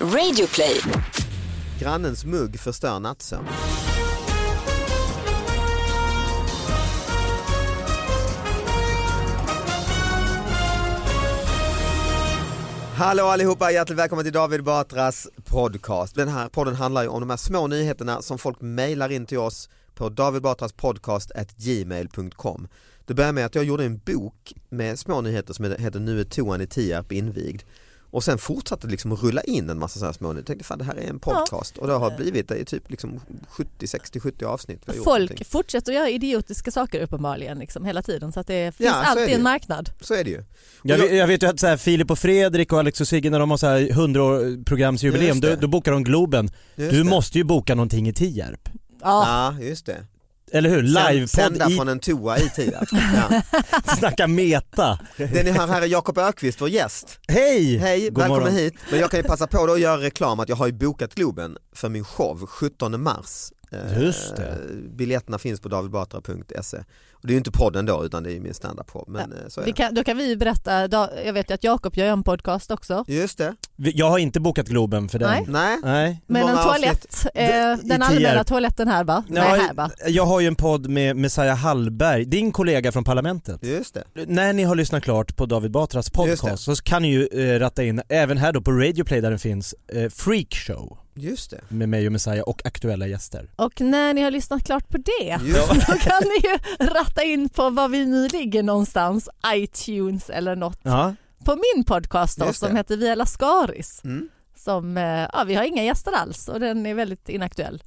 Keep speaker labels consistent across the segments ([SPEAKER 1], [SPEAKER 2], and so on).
[SPEAKER 1] Radio play.
[SPEAKER 2] Grannens mugg förstör nattsömn. Hallå allihopa, hjärtligt välkomna till David Batras podcast. Den här podden handlar ju om de här små nyheterna som folk mejlar in till oss på davidbatraspodcast.gmail.com. Det börjar med att jag gjorde en bok med små nyheter som heter Nu är toan i Tierp invigd. Och sen fortsatte det liksom rulla in en massa sådana här små nyheter. Jag tänkte fan det här är en podcast och det har blivit det är typ liksom 70, 60, 70 avsnitt. vi har gjort
[SPEAKER 3] Folk
[SPEAKER 2] någonting.
[SPEAKER 3] fortsätter att göra idiotiska saker uppenbarligen liksom, hela tiden så att det finns
[SPEAKER 2] så är
[SPEAKER 3] alltid
[SPEAKER 2] det ju.
[SPEAKER 3] en marknad.
[SPEAKER 2] Så är det ju. Och
[SPEAKER 4] Jag,
[SPEAKER 2] jag-
[SPEAKER 4] vet- jag vet ju att så här, Filip och Fredrik och Alex och Sigge när de har så här 100-programsjubileum,
[SPEAKER 2] Just det.
[SPEAKER 4] då, då bokar de Globen.
[SPEAKER 2] Just
[SPEAKER 4] du
[SPEAKER 2] det.
[SPEAKER 4] måste ju boka någonting i Tierp.
[SPEAKER 3] Ja,
[SPEAKER 2] Ja, just det.
[SPEAKER 4] Eller hur?
[SPEAKER 2] Sänd- Sända
[SPEAKER 4] Livepodd i
[SPEAKER 2] från en toa i Tierp. Ja.
[SPEAKER 4] Snacka Meta.
[SPEAKER 2] Den ni hör här är Jakob Ökvist, vår gäst.
[SPEAKER 4] Hej!
[SPEAKER 2] Hej,
[SPEAKER 4] God
[SPEAKER 2] välkommen
[SPEAKER 4] morgon.
[SPEAKER 2] hit. Men jag kan ju passa på då att göra reklam att jag har ju bokat Globen för min show 17 mars. Eh,
[SPEAKER 4] Just det.
[SPEAKER 2] Biljetterna finns på davidbatra.se. Och det är ju inte podden då utan det är ju min standup-show. Men eh, så är
[SPEAKER 3] det
[SPEAKER 2] det.
[SPEAKER 3] kan, då kan vi berätta, då, jag vet ju att Jakob gör en podcast också.
[SPEAKER 2] Just det.
[SPEAKER 4] Vi- Jag har inte bokat Globen för den.
[SPEAKER 3] Nej.
[SPEAKER 2] Nej.
[SPEAKER 4] Nej.
[SPEAKER 3] Men en
[SPEAKER 2] Många
[SPEAKER 3] toalett, eh,
[SPEAKER 4] I
[SPEAKER 3] den
[SPEAKER 4] Tierp.
[SPEAKER 3] allmänna toaletten här va? Nej, här va?
[SPEAKER 4] jag har ju en podd med Messiah Hallberg, din kollega från Parlamentet.
[SPEAKER 2] Just det.
[SPEAKER 4] När ni har lyssnat klart på David Batras
[SPEAKER 2] Just det.
[SPEAKER 4] podcast så kan ni ju eh, ratta in, även här då på Radio Play där den finns, eh, Freak Show
[SPEAKER 2] Just det.
[SPEAKER 4] med mig och Messiah och aktuella gäster.
[SPEAKER 3] Och när ni har lyssnat klart på det,
[SPEAKER 2] Just det.
[SPEAKER 3] då kan ni ju ratta in på var vi nu ligger någonstans, iTunes eller något.
[SPEAKER 4] Ja.
[SPEAKER 3] På min podcast då,
[SPEAKER 2] Just det.
[SPEAKER 3] som heter Via Lascaris.
[SPEAKER 2] Mm.
[SPEAKER 3] Som, eh, ja, vi har inga gäster alls och den är väldigt inaktuell.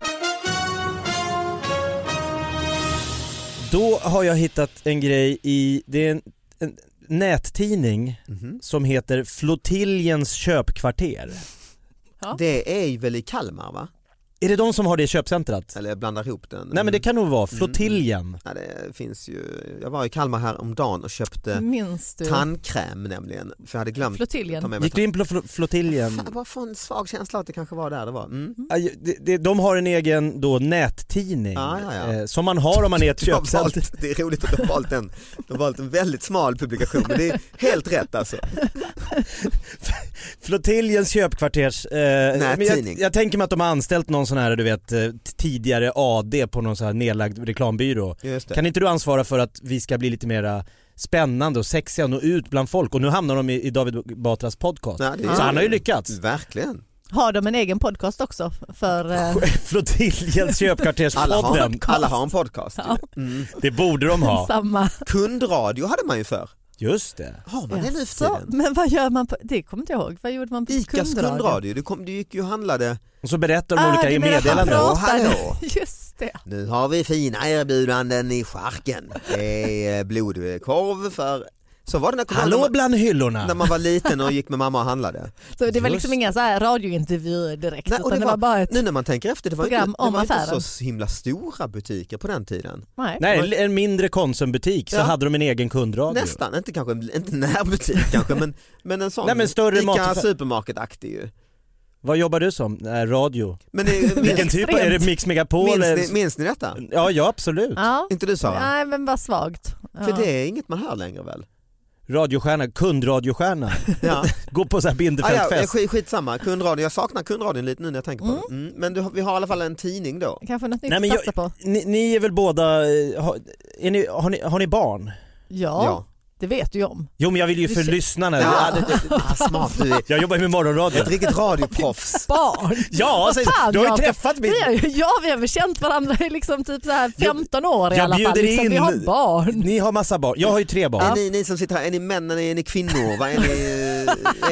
[SPEAKER 4] Då har jag hittat en grej i, det är en, en nättidning
[SPEAKER 2] Mhm.
[SPEAKER 4] som heter Flottiljens köpkvarter.
[SPEAKER 3] Ja.
[SPEAKER 2] Det är ju väl i Kalmar va?
[SPEAKER 4] Är det de som har det köpcentrat?
[SPEAKER 2] Eller jag blandar ihop den.
[SPEAKER 4] Nej men det kan nog vara Flottiljen.
[SPEAKER 2] Ja, det finns ju, jag var i Kalmar här om dagen och köpte
[SPEAKER 3] Minns du?
[SPEAKER 2] tandkräm nämligen. För jag hade glömt att ta
[SPEAKER 3] Flottiljen.
[SPEAKER 2] med mig
[SPEAKER 4] Gick du in på fl- Flottiljen?
[SPEAKER 2] Fan, jag bara får en svag känsla att det kanske var där det var. Mm.
[SPEAKER 4] Aj, det- det- De har en egen då nättidning
[SPEAKER 2] Ah, ja, ja.
[SPEAKER 4] eh, som man har om man är ett
[SPEAKER 2] De har
[SPEAKER 4] köpcenter.
[SPEAKER 2] valt, det är roligt att de har valt en, de har valt en väldigt smal publikation men det är helt rätt alltså.
[SPEAKER 4] Flottiljens köpkvarters... Eh, men
[SPEAKER 2] Nättidning.
[SPEAKER 4] jag, jag tänker mig att de har anställt någon sån här du vet eh, t- tidigare AD på någon sån här nedlagd reklambyrå.
[SPEAKER 2] Just det.
[SPEAKER 4] Kan inte du ansvara för att vi ska bli lite mera spännande och sexiga och nå ut bland folk? Och nu hamnar de i, i David Batras podcast.
[SPEAKER 2] Nej, det är-
[SPEAKER 4] Så han har ju lyckats.
[SPEAKER 2] Verkligen.
[SPEAKER 3] Har de en egen podcast också? För, eh,
[SPEAKER 4] Flottiljens
[SPEAKER 2] Mm. Alla har,
[SPEAKER 4] köpkvarterspodden.
[SPEAKER 2] en, alla har en podcast. ju.
[SPEAKER 3] Ja.
[SPEAKER 2] Mm.
[SPEAKER 4] Det borde de ha.
[SPEAKER 3] samma.
[SPEAKER 2] Kundradio hade man ju för.
[SPEAKER 4] Just det.
[SPEAKER 2] Har man det nu för
[SPEAKER 3] Så,
[SPEAKER 2] tiden?
[SPEAKER 3] men vad gör man på, det kommer inte jag ihåg, vad gjorde man på
[SPEAKER 2] Icas kundradio, du, kom, du gick ju och handlade.
[SPEAKER 4] Och så berättar de
[SPEAKER 3] Ah,
[SPEAKER 4] olika
[SPEAKER 3] du menar
[SPEAKER 4] meddelanden.
[SPEAKER 3] Hallå,
[SPEAKER 2] Hallå, hallå.
[SPEAKER 3] Just det.
[SPEAKER 2] Nu har vi fina erbjudanden i charken. Det är blodkorv för Så var det när, jag kom ihåg när,
[SPEAKER 4] Hallå
[SPEAKER 2] man,
[SPEAKER 4] bland hyllorna!
[SPEAKER 2] när man var liten och gick med mamma och handlade.
[SPEAKER 3] Så det var
[SPEAKER 4] Just
[SPEAKER 3] liksom inga så här radiointervjuer direkt
[SPEAKER 2] Nej, och
[SPEAKER 3] utan det var, bara ett...
[SPEAKER 2] Nu när man tänker efter, det var,
[SPEAKER 3] program
[SPEAKER 2] inte, det
[SPEAKER 3] om
[SPEAKER 2] var inte
[SPEAKER 3] affären.
[SPEAKER 2] så himla stora butiker på den tiden.
[SPEAKER 3] Nej.
[SPEAKER 4] Nej, en- en mindre Konsumbutik så
[SPEAKER 2] Ja.
[SPEAKER 4] hade de en egen kundradio.
[SPEAKER 2] Nästan, inte kanske en- inte närbutik kanske men, men en sån.
[SPEAKER 4] Nej, men större
[SPEAKER 2] Ica
[SPEAKER 4] mataffär.
[SPEAKER 2] supermarket-aktig ju.
[SPEAKER 4] Vad jobbar du som? Nej, radio.
[SPEAKER 2] Men det,
[SPEAKER 4] Vilken
[SPEAKER 2] minns,
[SPEAKER 4] typ? Är det Mix Megapol?
[SPEAKER 2] minns,
[SPEAKER 4] eller-
[SPEAKER 2] ni, minns ni detta?
[SPEAKER 4] Ja, ja absolut.
[SPEAKER 3] Ja.
[SPEAKER 2] Inte du Sara?
[SPEAKER 3] Nej men vad svagt. Ja.
[SPEAKER 2] För det är inget man hör längre väl?
[SPEAKER 4] Radiostjärna, kundradiostjärna.
[SPEAKER 2] Ja.
[SPEAKER 4] Gå på så här
[SPEAKER 2] Ah, ja,
[SPEAKER 4] Bindefeldfest.
[SPEAKER 2] skit- skitsamma, kundradion. Jag saknar kundradion lite nu när jag tänker på det. Mm, men du, har- vi har i alla fall en tidning då.
[SPEAKER 3] Kanske något nytt
[SPEAKER 4] Nej, men
[SPEAKER 3] att
[SPEAKER 4] jag-
[SPEAKER 3] satsa på.
[SPEAKER 4] Ni, ni är väl båda, eh, har, är ni, har, ni, har ni barn?
[SPEAKER 3] Ja, det vet du ju om.
[SPEAKER 4] Jo men jag vill ju
[SPEAKER 3] Du
[SPEAKER 4] för
[SPEAKER 3] ser-
[SPEAKER 4] lyssnarna.
[SPEAKER 2] Ja, det,
[SPEAKER 4] Ja.
[SPEAKER 2] det, det, vad smart du är.
[SPEAKER 4] Jag jobbar ju med morgonradio.
[SPEAKER 2] Ett riktigt radioproffs.
[SPEAKER 3] Barn!
[SPEAKER 4] Ja,
[SPEAKER 3] Vad fan,
[SPEAKER 4] du har ju
[SPEAKER 3] Jakob?
[SPEAKER 4] träffat mitt...
[SPEAKER 3] Vi har, ju- ja vi har väl känt varandra i liksom typ så här 15 år i
[SPEAKER 4] jag
[SPEAKER 3] alla fall.
[SPEAKER 4] bjuder
[SPEAKER 3] Liksom, vi
[SPEAKER 4] in-
[SPEAKER 3] har barn.
[SPEAKER 4] Ni har massa barn, jag har ju tre barn.
[SPEAKER 2] Är ni, ni som sitter här, är ni män eller är ni kvinnor? Vad är ni,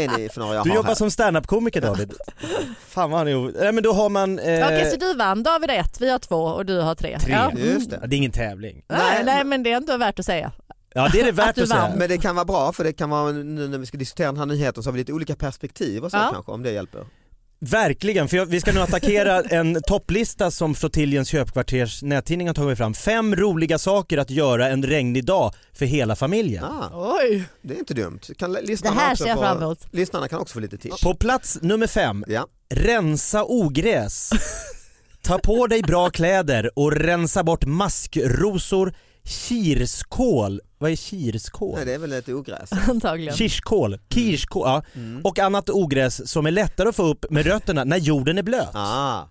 [SPEAKER 2] är ni för några jag
[SPEAKER 4] Du
[SPEAKER 2] har
[SPEAKER 4] jobbar
[SPEAKER 2] här?
[SPEAKER 4] som standup-komiker David. Fan vad han är o- Nej men då har man... Eh...
[SPEAKER 3] Okej så du vann, David har ett, vi har två och du har tre.
[SPEAKER 4] Tre.
[SPEAKER 3] Ja.
[SPEAKER 2] Just
[SPEAKER 4] Ja,
[SPEAKER 2] det.
[SPEAKER 4] det är ingen tävling.
[SPEAKER 3] Nej, nej men det är ändå värt att säga.
[SPEAKER 4] Ja det är det värt
[SPEAKER 3] du
[SPEAKER 4] att säga.
[SPEAKER 3] vann.
[SPEAKER 2] Men det kan vara bra för det kan vara nu när vi ska diskutera den här nyheten så har vi lite olika perspektiv och så
[SPEAKER 3] Ja.
[SPEAKER 2] kanske om det hjälper.
[SPEAKER 4] Verkligen, för jag, vi ska nu attackera en topplista som Flottiljens köpkvarters nättidning har tagit fram. Fem roliga saker att göra en regnig dag för hela familjen.
[SPEAKER 2] Ah,
[SPEAKER 3] Oj!
[SPEAKER 2] det är inte dumt. Kan l-
[SPEAKER 3] Det
[SPEAKER 2] lyssnarna,
[SPEAKER 3] här
[SPEAKER 2] också
[SPEAKER 3] ser jag
[SPEAKER 2] få,
[SPEAKER 3] fram emot.
[SPEAKER 2] lyssnarna kan också få lite tips.
[SPEAKER 4] På plats nummer fem,
[SPEAKER 2] Ja.
[SPEAKER 4] rensa ogräs. Ta på dig bra kläder och rensa bort maskrosor, kirskål, vad är kirskål?
[SPEAKER 2] Nej, det är väl ett ogräs.
[SPEAKER 3] Antagligen.
[SPEAKER 4] Kirskål, kirskål, ja.
[SPEAKER 2] Mm.
[SPEAKER 4] och annat ogräs som är lättare att få upp med rötterna när jorden är blöt.
[SPEAKER 2] Ah,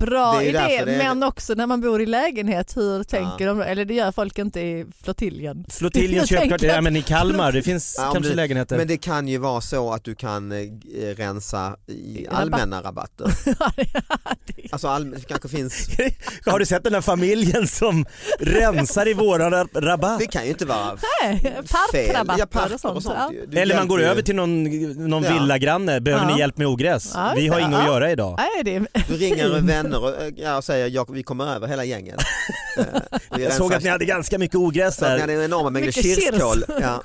[SPEAKER 3] Bra
[SPEAKER 2] Det är ju
[SPEAKER 3] idé,
[SPEAKER 2] därför det är-
[SPEAKER 3] men också när man bor i lägenhet, hur tänker de? Eller det gör folk inte i flottiljen.
[SPEAKER 4] Flottiljens
[SPEAKER 3] Jag tänker
[SPEAKER 4] köpkvarter, ja,
[SPEAKER 3] att-
[SPEAKER 4] men i Kalmar, det finns
[SPEAKER 2] Ja, om
[SPEAKER 4] kanske
[SPEAKER 2] du-
[SPEAKER 4] lägenheter.
[SPEAKER 2] men det kan ju vara så att du kan eh, g- rensa i
[SPEAKER 3] Rabatt.
[SPEAKER 2] allmänna rabatter. Alltså all, det kanske finns,
[SPEAKER 4] Har du sett den här familjen som rensar i våra ra- rabatt?
[SPEAKER 2] det kan ju inte vara
[SPEAKER 3] Nej,
[SPEAKER 2] fel.
[SPEAKER 3] Parkrabatter
[SPEAKER 2] Ja, parker
[SPEAKER 3] och sånt.
[SPEAKER 2] ju. Du
[SPEAKER 4] Eller man
[SPEAKER 2] hjälper
[SPEAKER 4] går
[SPEAKER 2] ju-
[SPEAKER 4] över till någon, någon
[SPEAKER 2] Ja.
[SPEAKER 4] villagranne, behöver
[SPEAKER 3] Ja.
[SPEAKER 4] ni hjälp med ogräs?
[SPEAKER 3] Ja,
[SPEAKER 4] Vi har
[SPEAKER 3] just det.
[SPEAKER 4] inget att
[SPEAKER 3] Ja.
[SPEAKER 4] göra idag.
[SPEAKER 3] Nej, det är...
[SPEAKER 2] Du ringer vänner och, eh, ja, och säger jag, vi kommer över hela gänget. Eh, vi
[SPEAKER 4] Jag såg att ni hade ganska mycket ogräs
[SPEAKER 2] Så att ni
[SPEAKER 4] där.
[SPEAKER 2] hade enorma mängder
[SPEAKER 3] Mycket kirs.
[SPEAKER 2] kirskål. Ja.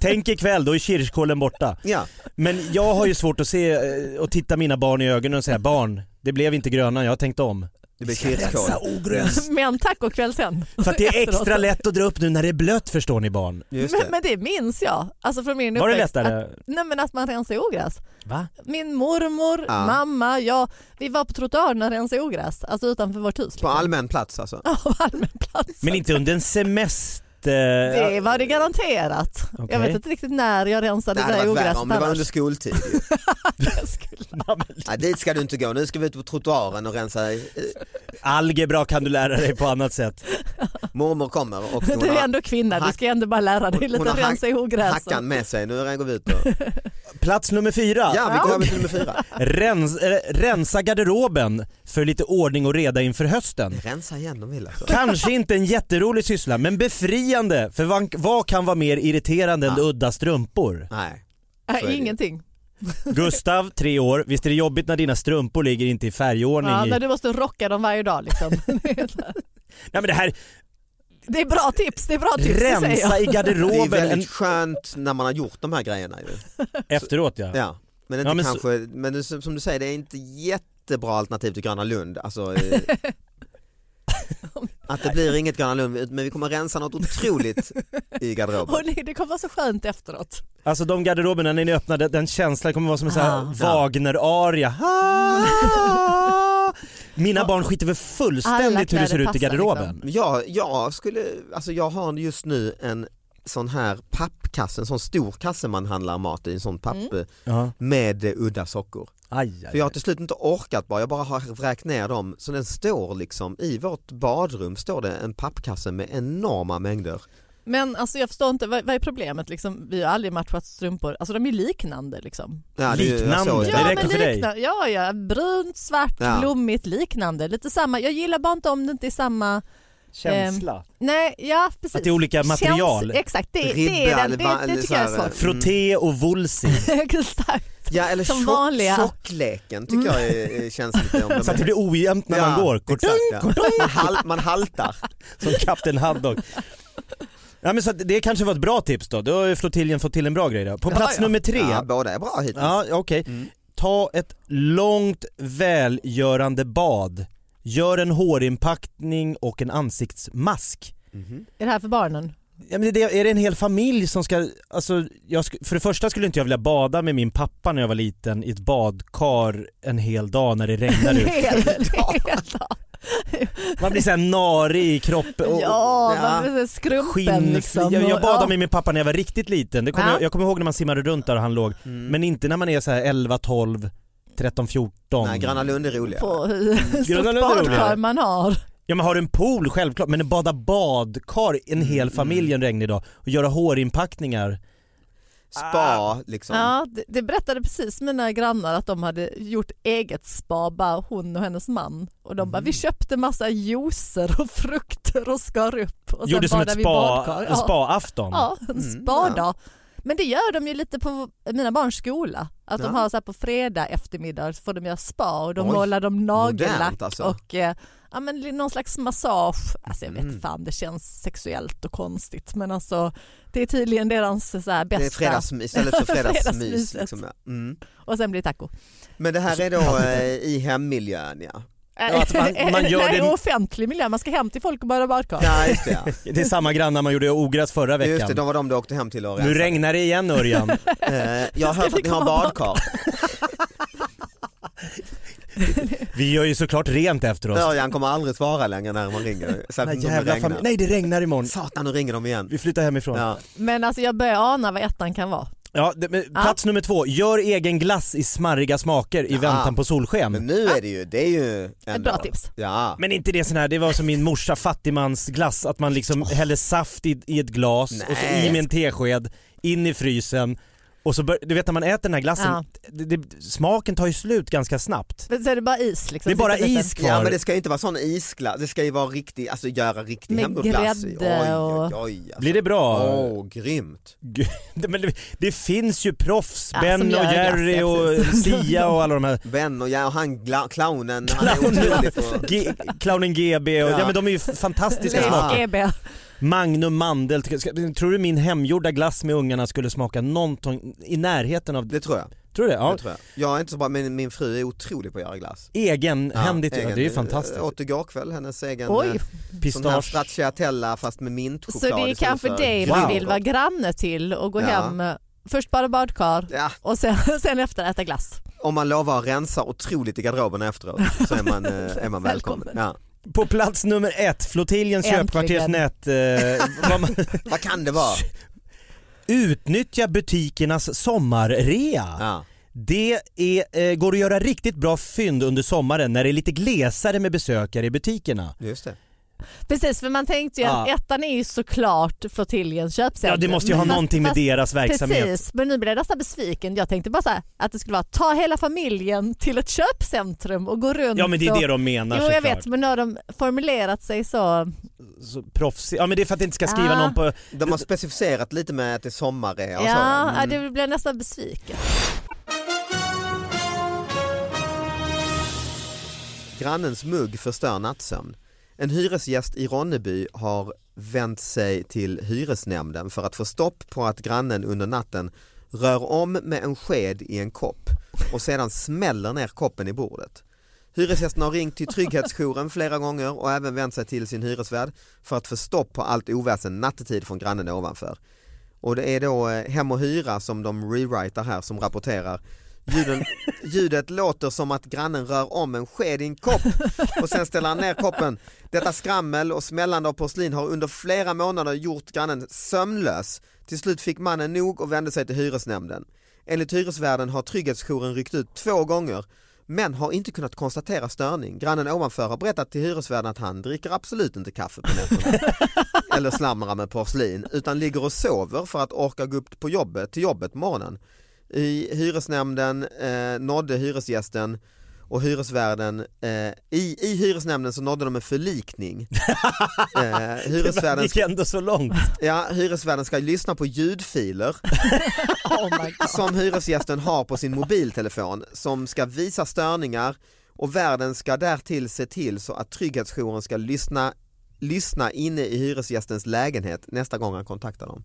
[SPEAKER 4] Tänk ikväll, då är kirskålen borta.
[SPEAKER 2] Ja.
[SPEAKER 4] Men jag har ju svårt att se eh, och titta mina barn i ögonen och säga barn, det blev inte gröna, jag har tänkt om.
[SPEAKER 2] Det blir kirskål.
[SPEAKER 4] Rensa ogräs.
[SPEAKER 3] Men tack och kväll sen.
[SPEAKER 4] För att det är extra
[SPEAKER 3] Efteråt.
[SPEAKER 4] lätt att dra upp nu när det är blött förstår ni barn.
[SPEAKER 2] Just
[SPEAKER 3] Men,
[SPEAKER 2] det.
[SPEAKER 3] men det minns jag, alltså från min
[SPEAKER 4] Var det
[SPEAKER 3] uppväxt, Att,
[SPEAKER 4] lättare?
[SPEAKER 3] nej men att man rensar ogräs.
[SPEAKER 4] Va?
[SPEAKER 3] Min mormor,
[SPEAKER 2] Ja.
[SPEAKER 3] mamma, jag, vi var på trottoaren och rensade ogräs, alltså utanför vårt hus.
[SPEAKER 2] På allmän plats alltså.
[SPEAKER 3] Av allmän plats.
[SPEAKER 4] Men inte under en semester?
[SPEAKER 2] Eh,
[SPEAKER 3] Det var det garanterat.
[SPEAKER 4] Okej.
[SPEAKER 3] Jag vet inte riktigt när jag rensade
[SPEAKER 2] Det
[SPEAKER 3] det
[SPEAKER 2] hade
[SPEAKER 3] där alltså.
[SPEAKER 2] varit värre
[SPEAKER 3] ogräset
[SPEAKER 2] om det var
[SPEAKER 3] annars.
[SPEAKER 2] under skoltid. ju.
[SPEAKER 4] Ja, men
[SPEAKER 2] Nej, dit ska du inte gå, nu ska vi ut på trottoaren och rensa. eh,
[SPEAKER 4] Algebra kan du lära dig på annat sätt.
[SPEAKER 2] Mormor kommer och
[SPEAKER 3] Du
[SPEAKER 2] hon
[SPEAKER 3] är
[SPEAKER 2] har,
[SPEAKER 3] ändå kvinna, du ska ändå bara lära dig
[SPEAKER 2] hon
[SPEAKER 3] lite
[SPEAKER 2] har
[SPEAKER 3] att rensa i ogräs.
[SPEAKER 2] hackan med sig. Nu går vi ut och...
[SPEAKER 4] Plats nummer fyra.
[SPEAKER 2] Ja, vi går över till nummer fyra.
[SPEAKER 4] Rens, eh, rensa garderoben för lite ordning och reda inför hösten.
[SPEAKER 2] Rensa igen om vill alltså.
[SPEAKER 4] Kanske inte en jätterolig syssla men befriande för vad, vad kan vara mer irriterande än
[SPEAKER 2] Ja.
[SPEAKER 4] udda strumpor?
[SPEAKER 2] Nej.
[SPEAKER 3] Nej,
[SPEAKER 2] Så är det ju.
[SPEAKER 3] ingenting.
[SPEAKER 4] Gustav, tre år, visst är det jobbigt när dina strumpor ligger inte i färgordning?
[SPEAKER 3] Ja,
[SPEAKER 4] i...
[SPEAKER 3] när du måste rocka dem varje dag liksom.
[SPEAKER 4] Nej men det här,
[SPEAKER 3] Det är bra tips, det är bra tips, det säger jag.
[SPEAKER 4] rensa i
[SPEAKER 2] Det är
[SPEAKER 4] garderoben en,
[SPEAKER 2] väldigt skönt när man har gjort de här grejerna ju.
[SPEAKER 4] efteråt ja.
[SPEAKER 2] Ja. Men, inte
[SPEAKER 4] Ja, men så-
[SPEAKER 2] kanske, men det- som du säger, det är inte jättebra alternativ till Gröna Lund. Alltså, eh, att det blir inget Gröna Lund, men vi kommer rensa något otroligt i garderoben.
[SPEAKER 3] Och nej, det kommer vara så skönt efteråt.
[SPEAKER 4] Alltså de garderoberna när ni öppnar den- den känslan kommer vara som en sån här
[SPEAKER 3] Ah.
[SPEAKER 4] Wagner-aria. Ah. Mina barn skiter väl
[SPEAKER 3] Alla
[SPEAKER 4] fullständigt hur det
[SPEAKER 3] kläder
[SPEAKER 4] ser ut i
[SPEAKER 3] passar,
[SPEAKER 4] garderoben.
[SPEAKER 3] liksom.
[SPEAKER 2] Men Jag, jag, skulle, alltså jag har just nu en sån här pappkasse, en sån stor kasse man handlar mat i, en sån papp
[SPEAKER 4] Mm. Ja.
[SPEAKER 2] med eh, udda sockor.
[SPEAKER 4] Aj,
[SPEAKER 2] För jag har till slut inte orkat bara, jag bara har vräkt ner dem. Så den står liksom, i vårt badrum står det en pappkasse med enorma mängder.
[SPEAKER 3] Men alltså jag förstår inte, vad, vad är problemet liksom? Vi har aldrig matchat strumpor, alltså de är liknande liksom.
[SPEAKER 2] Ja, det är ju- jag
[SPEAKER 4] Liknande.
[SPEAKER 2] såg
[SPEAKER 4] Det
[SPEAKER 2] det.
[SPEAKER 4] Ja, räcker för dig.
[SPEAKER 3] likna- Ja, ja, brunt, svart,
[SPEAKER 2] Ja.
[SPEAKER 3] blommigt, liknande. Lite samma, jag gillar bara inte om det inte är samma, Känsla.
[SPEAKER 4] Ehm.
[SPEAKER 3] nej, ja precis.
[SPEAKER 4] Att det är olika material.
[SPEAKER 3] Känns, exakt, det, det,
[SPEAKER 2] Ribba
[SPEAKER 3] är den,
[SPEAKER 2] eller
[SPEAKER 3] det,
[SPEAKER 2] va-
[SPEAKER 3] det
[SPEAKER 2] eller
[SPEAKER 3] tycker jag
[SPEAKER 2] så
[SPEAKER 3] är
[SPEAKER 2] här, mm.
[SPEAKER 3] svårt.
[SPEAKER 4] Frotté och vulsi.
[SPEAKER 3] Starkt.
[SPEAKER 2] Ja eller
[SPEAKER 3] Som
[SPEAKER 2] tjock-
[SPEAKER 3] vanliga. Mm.
[SPEAKER 2] tjockleken tycker jag är, är- känns lite om de
[SPEAKER 4] Så att det blir ojämnt när man går. Kortung,
[SPEAKER 2] exakt, ja. man, hal, man haltar.
[SPEAKER 4] Som Kapten Haddock. Ja, men så att det kanske var ett bra tips då, då har flottiljen fått till en bra grej då. På plats nummer tre,
[SPEAKER 2] Ja, Mm.
[SPEAKER 4] ja,
[SPEAKER 2] båda är bra hittills.
[SPEAKER 4] okej. Ta ett långt välgörande bad. Gör en hårinpackning och en ansiktsmask.
[SPEAKER 2] Mhm.
[SPEAKER 3] Är det här för barnen?
[SPEAKER 4] Ja, men det, är det en hel familj som ska, alltså, jag, sk- för det första skulle inte jag vilja bada med min pappa när jag var liten i ett badkar en hel dag när det regnar ut. Man blir såhär narig i kroppen. och-
[SPEAKER 3] Ja,
[SPEAKER 2] Oh, Ja.
[SPEAKER 3] man blir så skrumpen
[SPEAKER 4] Skinn,
[SPEAKER 3] liksom.
[SPEAKER 4] jag, jag badade
[SPEAKER 3] Ja.
[SPEAKER 4] med min pappa när jag var riktigt liten, det kommer
[SPEAKER 3] Ja. Mm.
[SPEAKER 4] jag, jag kommer ihåg när man simmade runt där och han låg.
[SPEAKER 2] Mm.
[SPEAKER 4] Men inte när man är så här 11, 12, 13, 14.
[SPEAKER 2] Nej, Gröna Lund är roligare.
[SPEAKER 3] på hur stort
[SPEAKER 4] Mm. Gröna Lund är
[SPEAKER 3] badkar
[SPEAKER 4] roligare.
[SPEAKER 3] man har.
[SPEAKER 4] Ja men har du en pool självklart, men bada badkar en hel
[SPEAKER 2] Mm.
[SPEAKER 4] familj en regnig dag och göra hårinpackningar.
[SPEAKER 2] Spa liksom.
[SPEAKER 3] Ja, det, det berättade precis mina grannar att de hade gjort eget spa, bara hon och hennes man. Och de bara,
[SPEAKER 4] Mm.
[SPEAKER 3] vi köpte massa juicer och frukter och skar upp. Och sen
[SPEAKER 4] Gjorde som ett
[SPEAKER 3] badade vi i
[SPEAKER 4] spa,
[SPEAKER 3] badkar.
[SPEAKER 4] en spa-afton.
[SPEAKER 3] Ja, en
[SPEAKER 2] Mm,
[SPEAKER 3] spadag.
[SPEAKER 2] ja.
[SPEAKER 3] Men det gör de ju lite på mina barns skola. Att de
[SPEAKER 2] Ja.
[SPEAKER 3] har så här på fredag eftermiddag så får de göra spa och de
[SPEAKER 2] Oj,
[SPEAKER 3] målar de nagellack
[SPEAKER 2] modernt alltså.
[SPEAKER 3] och eh, ja, men li- någon slags massage. Alltså jag vet fan, det känns sexuellt och konstigt men alltså det är tydligen deras eh, så här
[SPEAKER 2] Det
[SPEAKER 3] bästa.
[SPEAKER 2] är fredagsmys istället för fredagsmys.
[SPEAKER 3] Fredagsmyset.
[SPEAKER 2] liksom, ja. mm.
[SPEAKER 3] Och sen blir det taco.
[SPEAKER 2] Men det här är
[SPEAKER 4] Alltså,
[SPEAKER 2] då eh, i hemmiljön ja.
[SPEAKER 4] Ja, att man- man gör
[SPEAKER 3] Eh, Nej,
[SPEAKER 4] det-
[SPEAKER 3] offentlig miljö, man ska hem till folk och bara badkar.
[SPEAKER 2] Ja just det ja.
[SPEAKER 4] Det är samma grannar man gjorde ogräs förra veckan.
[SPEAKER 2] Just det, de var de du åkte hem till och
[SPEAKER 4] Nu
[SPEAKER 2] rensade.
[SPEAKER 4] regnar det igen Örjan.
[SPEAKER 2] Eh, Jag har hört att ni har badkar.
[SPEAKER 4] Vi gör ju såklart rent efter oss.
[SPEAKER 2] Örjan kommer aldrig svara längre när man ringer.
[SPEAKER 4] Den
[SPEAKER 2] Särskilt
[SPEAKER 4] här
[SPEAKER 2] om det
[SPEAKER 4] jävla familj-
[SPEAKER 2] regnar.
[SPEAKER 4] Nej det regnar imorgon.
[SPEAKER 2] Satan nu ringer de igen.
[SPEAKER 4] Vi flyttar hemifrån. Ja.
[SPEAKER 2] Ja.
[SPEAKER 3] Men alltså jag börjar ana vad ettan kan vara.
[SPEAKER 4] det, men, plats nummer två, gör egen glass i smarriga smaker i väntan på solsken.
[SPEAKER 2] Men
[SPEAKER 4] Men,
[SPEAKER 2] nu är det ju, det är ju
[SPEAKER 3] Ett
[SPEAKER 2] ändå.
[SPEAKER 3] bra tips.
[SPEAKER 2] Ja.
[SPEAKER 4] inte det sån här, det var som min morsa fattigmansglass, att man liksom häller saft i, i ett glas och så
[SPEAKER 2] Oh. Nej.
[SPEAKER 4] i med en tesked, in i frysen. Och så bör, du vet när man äter den här glassen,
[SPEAKER 3] Ja.
[SPEAKER 4] det, det, smaken tar ju slut ganska snabbt.
[SPEAKER 2] Alltså.
[SPEAKER 3] Men så är det bara is liksom.
[SPEAKER 4] Det är bara
[SPEAKER 3] sista biten.
[SPEAKER 4] is kvar.
[SPEAKER 2] Ja men det ska ju inte vara sån isglass, det ska ju vara riktig, alltså göra riktig
[SPEAKER 3] Med
[SPEAKER 2] hemgjord glass. i.
[SPEAKER 3] grädde och-
[SPEAKER 2] Oj, oj, oj. Alltså.
[SPEAKER 4] Blir det bra?
[SPEAKER 2] Åh, grymt.
[SPEAKER 4] Gud, det- Men det, det finns ju proffs,
[SPEAKER 3] Ja, som
[SPEAKER 4] Ben och
[SPEAKER 3] gör
[SPEAKER 4] Jerry
[SPEAKER 3] glass, ja,
[SPEAKER 4] och
[SPEAKER 3] precis.
[SPEAKER 4] Sia och alla de här.
[SPEAKER 2] Ben och jag och han gla- clownen, han är otrolig på...
[SPEAKER 4] G- Clownen GB och, ja.
[SPEAKER 2] Ja.
[SPEAKER 4] men de är ju fantastiska
[SPEAKER 2] Leif
[SPEAKER 4] smaker.
[SPEAKER 3] GB.
[SPEAKER 4] Magnum mandel, Ska- ska- tror du min hemgjorda glass med ungarna skulle smaka någonting i närheten av
[SPEAKER 2] Det tror jag.
[SPEAKER 4] Tror du det?
[SPEAKER 2] Det
[SPEAKER 4] Ja.
[SPEAKER 2] tror jag. jag är inte så bra, men min fru är otrolig på att göra glass.
[SPEAKER 4] Egenhändigt, ja,
[SPEAKER 2] egen-
[SPEAKER 4] det är ju fantastiskt.
[SPEAKER 2] Jag åt igår kväll hennes egen
[SPEAKER 3] Oj.
[SPEAKER 2] eh, sån här
[SPEAKER 4] Pistage.
[SPEAKER 2] stracciatella fast med
[SPEAKER 3] Så
[SPEAKER 2] mintchoklad.
[SPEAKER 3] det är
[SPEAKER 2] istället
[SPEAKER 3] kanske
[SPEAKER 2] för
[SPEAKER 3] dig
[SPEAKER 4] Wow.
[SPEAKER 3] man
[SPEAKER 2] gröt.
[SPEAKER 3] vill vara granne till och gå
[SPEAKER 2] Ja.
[SPEAKER 3] hem. eh, Först bara badkar
[SPEAKER 2] Ja,
[SPEAKER 3] och sen, sen efter äta glass.
[SPEAKER 2] om man lovar att rensa otroligt i garderoben efteråt så är man, eh, är man välkommen. Ja.
[SPEAKER 4] På plats nummer ett, flottiljens
[SPEAKER 3] Äntligen.
[SPEAKER 4] köpkvartersnät. Eh, vad man,
[SPEAKER 2] Vad kan det vara?
[SPEAKER 4] utnyttja butikernas sommarrea.
[SPEAKER 2] Ja.
[SPEAKER 4] Det är, eh, går att göra riktigt bra fynd under sommaren när det är lite glesare med besökare i butikerna.
[SPEAKER 2] Just det.
[SPEAKER 3] Precis för man tänkte ju att
[SPEAKER 4] Ja.
[SPEAKER 3] ettan är ju såklart flottiljens köpcentrum.
[SPEAKER 4] Ja det måste ju ha
[SPEAKER 3] Men fast-
[SPEAKER 4] någonting med
[SPEAKER 3] fast-
[SPEAKER 4] deras verksamhet.
[SPEAKER 3] Precis, men nu blir jag nästan besviken. Jag tänkte bara så här, att det skulle vara ta hela familjen till ett köpcentrum och gå runt.
[SPEAKER 4] Ja men det är
[SPEAKER 3] och,
[SPEAKER 4] det de menar
[SPEAKER 3] Jo jag
[SPEAKER 4] såklart.
[SPEAKER 3] vet men nu har de formulerat sig så.
[SPEAKER 4] Så proffsig. Ja men det är för att det inte ska skriva
[SPEAKER 3] Ah.
[SPEAKER 4] någon på...
[SPEAKER 2] De har specificerat lite med att det är sommarrea och så.
[SPEAKER 3] Ja,
[SPEAKER 2] Mm.
[SPEAKER 3] ja, det blir jag nästan besviken.
[SPEAKER 2] Grannens mugg förstör nattsömn. En hyresgäst i Ronneby har vänt sig till hyresnämnden för att få stopp på att grannen under natten rör om med en sked i en kopp och sedan smäller ner koppen i bordet. Hyresgästen har ringt till trygghetsjouren flera gånger och även vänt sig till sin hyresvärd för att få stopp på allt oväsen nattetid från grannen ovanför. Och det är då eh, Hem och Hyra som de rewritar här som rapporterar. Ljuden, ljudet låter som att grannen rör om en sked i en kopp och sen ställer han ner koppen. Detta skrammel och smällande av porslin har under flera månader gjort grannen sömnlös. Till slut fick mannen nog och vände sig till hyresnämnden. Enligt hyresvärden har trygghetsjouren ryckt ut två gånger men har inte kunnat konstatera störning. Grannen ovanför har berättat till hyresvärden att han dricker absolut inte kaffe på nätterna eller slamrar med porslin utan ligger och sover för att orka gå upp på jobbet, till jobbet på morgonen. I hyresnämnden eh, nådde hyresgästen och hyresvärden, eh, i, i hyresnämnden så nådde de en förlikning. eh,
[SPEAKER 4] Det
[SPEAKER 2] hyresvärden,
[SPEAKER 4] gick ändå så långt.
[SPEAKER 2] ja, hyresvärden ska lyssna på ljudfiler
[SPEAKER 3] Oh my God.
[SPEAKER 2] som hyresgästen har på sin mobiltelefon som ska visa störningar och värden ska därtill se till så att trygghetsjouren ska lyssna lyssna inne i hyresgästens lägenhet nästa gång han kontaktar dem.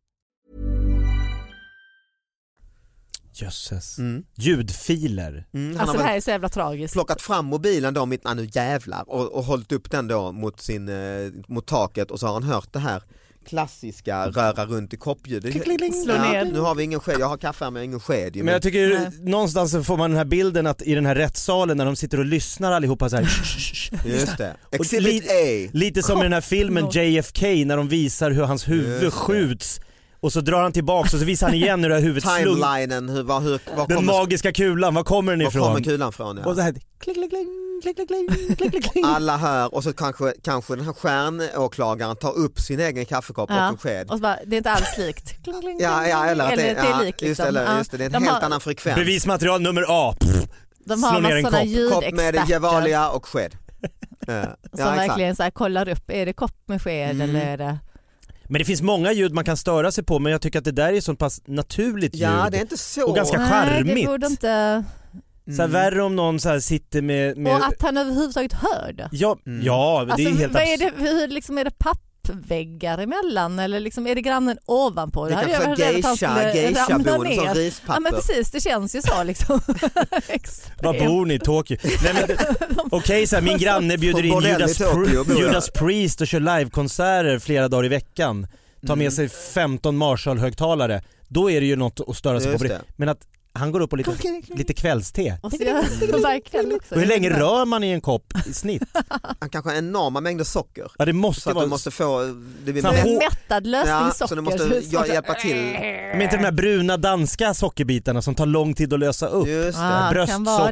[SPEAKER 4] Jösses.
[SPEAKER 2] Mm.
[SPEAKER 4] Ljudfiler.
[SPEAKER 2] Mm, han
[SPEAKER 3] Alltså det
[SPEAKER 2] har
[SPEAKER 3] här
[SPEAKER 2] väl
[SPEAKER 3] är så jävla tragiskt.
[SPEAKER 2] plockat fram mobilen då mitt, ah, nu jävlar, och, och hållit upp den då mot, sin, eh, mot taket och så har han hört det här klassiska röra runt i koppljudet.
[SPEAKER 3] Slå ner.
[SPEAKER 2] nu har vi ingen sked, jag har kaffe här men jag har ingen sked. ju,
[SPEAKER 4] Men jag tycker
[SPEAKER 3] Nej.
[SPEAKER 4] någonstans så får man den här bilden att i den här rättssalen när de sitter och lyssnar allihopa så här,
[SPEAKER 2] Just det.
[SPEAKER 4] Och
[SPEAKER 2] Exhibit A.
[SPEAKER 4] Lite som i den här filmen
[SPEAKER 3] Kopplar.
[SPEAKER 4] JFK när de visar hur hans
[SPEAKER 2] Just
[SPEAKER 4] huvud
[SPEAKER 2] det.
[SPEAKER 4] skjuts och så drar han tillbaks och så visar han igen hur det här huvudet slung,
[SPEAKER 2] Timelinen, hur, var, hur, var,
[SPEAKER 4] Den
[SPEAKER 2] kommer,
[SPEAKER 4] magiska kulan, var kommer den
[SPEAKER 2] var
[SPEAKER 4] ifrån?
[SPEAKER 2] kommer kulan från?
[SPEAKER 4] Och så
[SPEAKER 2] Ja.
[SPEAKER 4] här, klick, klick, klick, klick, klick, klick, klick, klick, klick.
[SPEAKER 2] Alla hör och så kanske, kanske den här stjärnåklagaren tar upp sin egen kaffekopp
[SPEAKER 3] Ja.
[SPEAKER 2] och en sked.
[SPEAKER 3] Och så bara, det är inte alls likt. Kling, kling,
[SPEAKER 2] Ja, ja, eller att det,
[SPEAKER 3] eller
[SPEAKER 2] ja,
[SPEAKER 3] är likt. Liksom.
[SPEAKER 2] just, det, eller,
[SPEAKER 3] Ja.
[SPEAKER 2] just det, det är en
[SPEAKER 3] de
[SPEAKER 2] helt
[SPEAKER 3] har,
[SPEAKER 2] annan frekvens.
[SPEAKER 4] Bevismaterial nummer A. Pff.
[SPEAKER 3] De
[SPEAKER 4] Slå
[SPEAKER 3] har
[SPEAKER 4] ner en
[SPEAKER 3] massa sådana
[SPEAKER 4] kopp.
[SPEAKER 2] Kopp med
[SPEAKER 3] ljudexperter
[SPEAKER 2] Gevalia och sked. Eh,
[SPEAKER 3] som verkligen så här, kollar upp, är det kopp med sked
[SPEAKER 2] Mm.
[SPEAKER 3] eller är det...
[SPEAKER 4] Men det finns många ljud man kan störa sig på men jag tycker att det där är så pass naturligt ljud.
[SPEAKER 2] Ja, det är inte så.
[SPEAKER 4] Och ganska-
[SPEAKER 3] Nej, det
[SPEAKER 4] charmigt.
[SPEAKER 3] borde inte...
[SPEAKER 4] så här,
[SPEAKER 2] Mm.
[SPEAKER 4] värre om någon så här sitter med... med...
[SPEAKER 3] Och att han överhuvudtaget hör det.
[SPEAKER 4] Ja,
[SPEAKER 2] Mm.
[SPEAKER 4] ja det
[SPEAKER 3] Alltså,
[SPEAKER 4] är helt
[SPEAKER 3] vad är
[SPEAKER 4] absurt.
[SPEAKER 3] det, hur, liksom, är det pappväggar emellan eller liksom, är det grannen ovanpå?
[SPEAKER 2] Det
[SPEAKER 3] hade
[SPEAKER 2] kanske är
[SPEAKER 3] jag varit rädd att han
[SPEAKER 2] geisha,
[SPEAKER 3] skulle ramla
[SPEAKER 2] geisha-boende som
[SPEAKER 3] ner.
[SPEAKER 2] rispapper.
[SPEAKER 3] Ja men precis, det känns ju så liksom. Extremt.
[SPEAKER 4] Var bor ni? Tokyo? Nej, men, Okej, så här, min
[SPEAKER 3] Alltså,
[SPEAKER 4] granne bjuder
[SPEAKER 2] På
[SPEAKER 4] in
[SPEAKER 2] bordell i
[SPEAKER 4] Judas,
[SPEAKER 2] Tokyo
[SPEAKER 4] Pri-
[SPEAKER 2] bor jag.
[SPEAKER 4] Judas Priest och kör livekonserter flera dagar i veckan. Tar
[SPEAKER 2] Mm.
[SPEAKER 4] med sig 15 Marshall-högtalare. Då är det ju något att störa sig
[SPEAKER 2] Just
[SPEAKER 4] på.
[SPEAKER 2] det.
[SPEAKER 4] Men att han går upp och lite, lite kvällste.
[SPEAKER 3] Och så gör, verkligen också.
[SPEAKER 4] Och hur länge rör man i en kopp i snitt?
[SPEAKER 2] Han kanske har enorma mängder socker.
[SPEAKER 4] Ja, det
[SPEAKER 2] Så
[SPEAKER 4] måste
[SPEAKER 2] att du
[SPEAKER 4] vara...
[SPEAKER 2] måste få... Det blir
[SPEAKER 4] Fan,
[SPEAKER 2] mer-
[SPEAKER 4] hår-
[SPEAKER 3] En mättad lösning
[SPEAKER 2] ja,
[SPEAKER 3] socker.
[SPEAKER 2] så du måste
[SPEAKER 3] hur
[SPEAKER 2] jag
[SPEAKER 3] socker-
[SPEAKER 2] hjälpa till.
[SPEAKER 4] Men inte de här bruna danska sockerbitarna som tar lång tid att lösa upp.
[SPEAKER 2] Just det.
[SPEAKER 3] Ah, det kan vara det.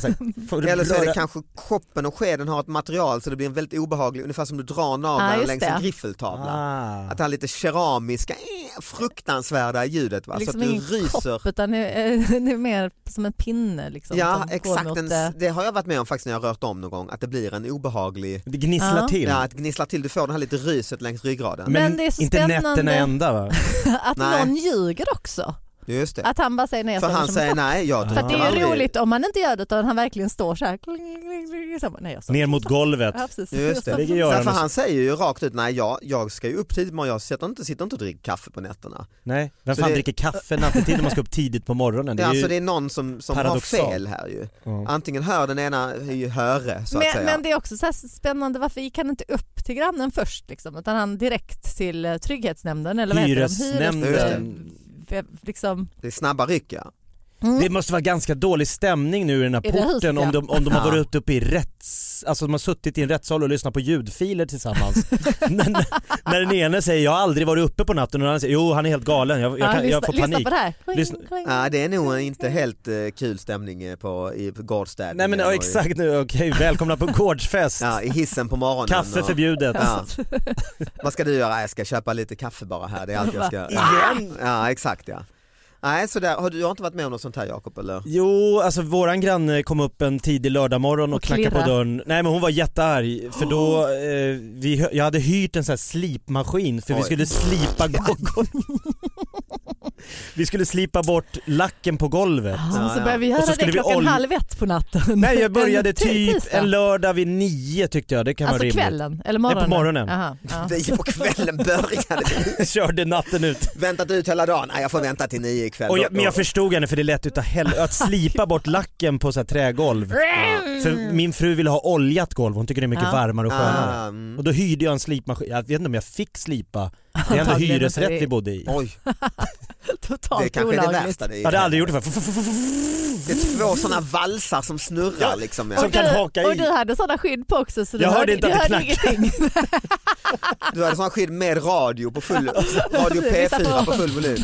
[SPEAKER 4] så här. Får du
[SPEAKER 2] Eller så är det
[SPEAKER 4] röra-
[SPEAKER 2] kanske koppen och skeden har ett material så det blir en väldigt obehaglig, ungefär som du drar
[SPEAKER 3] Ja,
[SPEAKER 2] naveln
[SPEAKER 3] just
[SPEAKER 2] längs
[SPEAKER 3] det.
[SPEAKER 2] en griffeltavla.
[SPEAKER 4] Ah.
[SPEAKER 2] Att det här lite keramiska, eh, fruktansvärda ljudet va?
[SPEAKER 3] liksom
[SPEAKER 2] så att
[SPEAKER 3] ingen
[SPEAKER 2] alltså, du ryser.
[SPEAKER 3] kopp utan det är, det är mer som en pinne. Liksom,
[SPEAKER 2] ja
[SPEAKER 3] som går
[SPEAKER 2] exakt,
[SPEAKER 3] mot,
[SPEAKER 2] en,
[SPEAKER 3] eh,
[SPEAKER 2] det har jag varit med om faktiskt när jag har rört om någon gång, att det blir en obehaglig,
[SPEAKER 4] Det gnisslar
[SPEAKER 3] Ja.
[SPEAKER 4] till.
[SPEAKER 2] ja att gnissla till, du får det här lite ryset längs ryggraden.
[SPEAKER 3] Men det är så
[SPEAKER 4] inte nätterna
[SPEAKER 3] spännande.
[SPEAKER 4] ända va?
[SPEAKER 3] eh, Att
[SPEAKER 2] Nej.
[SPEAKER 3] någon ljuger också.
[SPEAKER 2] Just det.
[SPEAKER 3] Att han bara säger nej. jag
[SPEAKER 2] För
[SPEAKER 3] sover
[SPEAKER 2] han
[SPEAKER 3] som
[SPEAKER 2] säger
[SPEAKER 3] en socker.
[SPEAKER 2] nej, jag
[SPEAKER 4] För
[SPEAKER 3] För
[SPEAKER 2] dricker
[SPEAKER 3] att det är ju
[SPEAKER 2] aldrig.
[SPEAKER 3] roligt om han inte gör det utan han verkligen står så här. kling, kling, kling, så bara, Nej, jag sover
[SPEAKER 4] Ner
[SPEAKER 3] som en
[SPEAKER 4] mot
[SPEAKER 3] socker.
[SPEAKER 4] golvet.
[SPEAKER 3] Ja,
[SPEAKER 2] Just
[SPEAKER 3] precis.
[SPEAKER 2] det.
[SPEAKER 3] Jag sover
[SPEAKER 4] Ligger
[SPEAKER 3] som-
[SPEAKER 4] Göran
[SPEAKER 2] Sen, för
[SPEAKER 4] och-
[SPEAKER 2] han säger ju rakt ut, nej jag, jag ska ju upp tidigt men jag sitter inte, sitter inte och dricker kaffe på nätterna.
[SPEAKER 4] Nej, vem
[SPEAKER 2] Så
[SPEAKER 4] fan
[SPEAKER 2] det-
[SPEAKER 4] dricker kaffe nattetid om man ska upp tidigt på morgonen?
[SPEAKER 2] Det är,
[SPEAKER 4] Det är
[SPEAKER 2] alltså,
[SPEAKER 4] ju...
[SPEAKER 2] det är någon som, som har
[SPEAKER 4] paradoxalt.
[SPEAKER 2] fel här ju.
[SPEAKER 4] Ja.
[SPEAKER 2] Antingen hör den ena i höre så att
[SPEAKER 3] Men,
[SPEAKER 2] säga.
[SPEAKER 3] men det är också så här spännande, varför gick han inte upp till grannen först? Liksom, utan han direkt till eh, trygghetsnämnden eller vad heter
[SPEAKER 4] Hyresnämnden.
[SPEAKER 3] de?
[SPEAKER 2] Mm.
[SPEAKER 3] Hyres- eh, Liksom.
[SPEAKER 2] Det är snabba ryck ja.
[SPEAKER 3] Mm.
[SPEAKER 4] Det måste vara ganska dålig stämning nu i den här
[SPEAKER 3] I det huset,
[SPEAKER 4] porten om
[SPEAKER 3] ja.
[SPEAKER 4] de, om de har
[SPEAKER 2] Ja.
[SPEAKER 4] varit uppe i rätts... Alltså de har suttit i en rättssal och lyssnat på ljudfiler tillsammans. när, när- när den ene säger jag har aldrig varit uppe på natten och den andra säger jo han är helt galen, jag, jag,
[SPEAKER 3] Ja,
[SPEAKER 4] kan, jag
[SPEAKER 3] lyssna,
[SPEAKER 4] får
[SPEAKER 3] Lyssna
[SPEAKER 4] panik.
[SPEAKER 3] på det här. Kling,
[SPEAKER 4] Lyssna-
[SPEAKER 3] kling.
[SPEAKER 2] ja. Det är nog inte helt eh, kul stämning eh, på, i gårdsstädningen.
[SPEAKER 4] Nej men
[SPEAKER 2] och
[SPEAKER 4] ja,
[SPEAKER 2] i-
[SPEAKER 4] exakt nu, okej välkomna på gårdsfest.
[SPEAKER 2] Ja, I hissen på morgonen.
[SPEAKER 4] Kaffe
[SPEAKER 2] och-
[SPEAKER 4] förbjudet.
[SPEAKER 2] Ja. Vad ska du göra? Jag ska köpa lite kaffe bara här. Det är allt jag ska... Igen? Ja exakt ja. Nej, så där, har du har inte varit med om något sånt här Jakob eller?
[SPEAKER 4] Jo, alltså våran granne kom upp en tidig lördagmorgon och,
[SPEAKER 3] Och
[SPEAKER 4] knackade på
[SPEAKER 3] klirra.
[SPEAKER 4] dörren. Nej men hon var jättearg för då, eh, vi, hö- jag hade hyrt en sån här slipmaskin för vi
[SPEAKER 2] Oj.
[SPEAKER 4] skulle slipa gården. Vi skulle slipa bort lacken på golvet.
[SPEAKER 3] Ja, så började vi
[SPEAKER 4] Och så
[SPEAKER 3] göra
[SPEAKER 4] skulle
[SPEAKER 3] det
[SPEAKER 4] vi
[SPEAKER 3] klockan
[SPEAKER 4] olja-
[SPEAKER 3] halv ett på natten.
[SPEAKER 4] Nej jag började
[SPEAKER 3] En ti-
[SPEAKER 4] typ
[SPEAKER 3] tisdag.
[SPEAKER 4] en lördag vid nio tyckte jag, det kan
[SPEAKER 3] Alltså
[SPEAKER 4] vara rimligt.
[SPEAKER 3] kvällen eller
[SPEAKER 4] Nej,
[SPEAKER 3] morgonen?
[SPEAKER 4] på morgonen.
[SPEAKER 3] Jaha, ja.
[SPEAKER 2] Vi på kvällen började.
[SPEAKER 4] Körde natten ut.
[SPEAKER 2] Väntat ut hela dagen. Nej, jag får vänta till nio ikväll.
[SPEAKER 4] Och
[SPEAKER 2] Då-
[SPEAKER 4] jag, men jag
[SPEAKER 2] då-
[SPEAKER 4] förstod henne för det lät utav helvete, att slipa bort lacken på så här trägolv. För min fru ville ha oljat golv, hon tycker det är mycket
[SPEAKER 3] Mm. Ja.
[SPEAKER 4] varmare och skönare.
[SPEAKER 2] Ah, mm.
[SPEAKER 4] Och då hyrde jag en slipmaskin, jag vet inte om jag fick slipa, det är ändå
[SPEAKER 3] Antagligen
[SPEAKER 4] hyresrätt
[SPEAKER 3] inte.
[SPEAKER 4] vi bodde i.
[SPEAKER 2] Oj, det
[SPEAKER 3] Totalt
[SPEAKER 2] kanske är det
[SPEAKER 3] olagligt.
[SPEAKER 2] värsta. Det är,
[SPEAKER 4] Jag hade aldrig gjort det förr.
[SPEAKER 2] Det är två sådana valsar som snurrar
[SPEAKER 4] Ja,
[SPEAKER 2] liksom.
[SPEAKER 4] som
[SPEAKER 2] Ja.
[SPEAKER 4] kan
[SPEAKER 3] du,
[SPEAKER 4] haka
[SPEAKER 3] Mm. och
[SPEAKER 4] i.
[SPEAKER 3] du hade sådana skydd på också så du
[SPEAKER 4] Jag hörde inte
[SPEAKER 3] du
[SPEAKER 4] att det
[SPEAKER 3] hörde ingenting.
[SPEAKER 2] Du hade sån skydd med radio på full, radio P4 på full volym.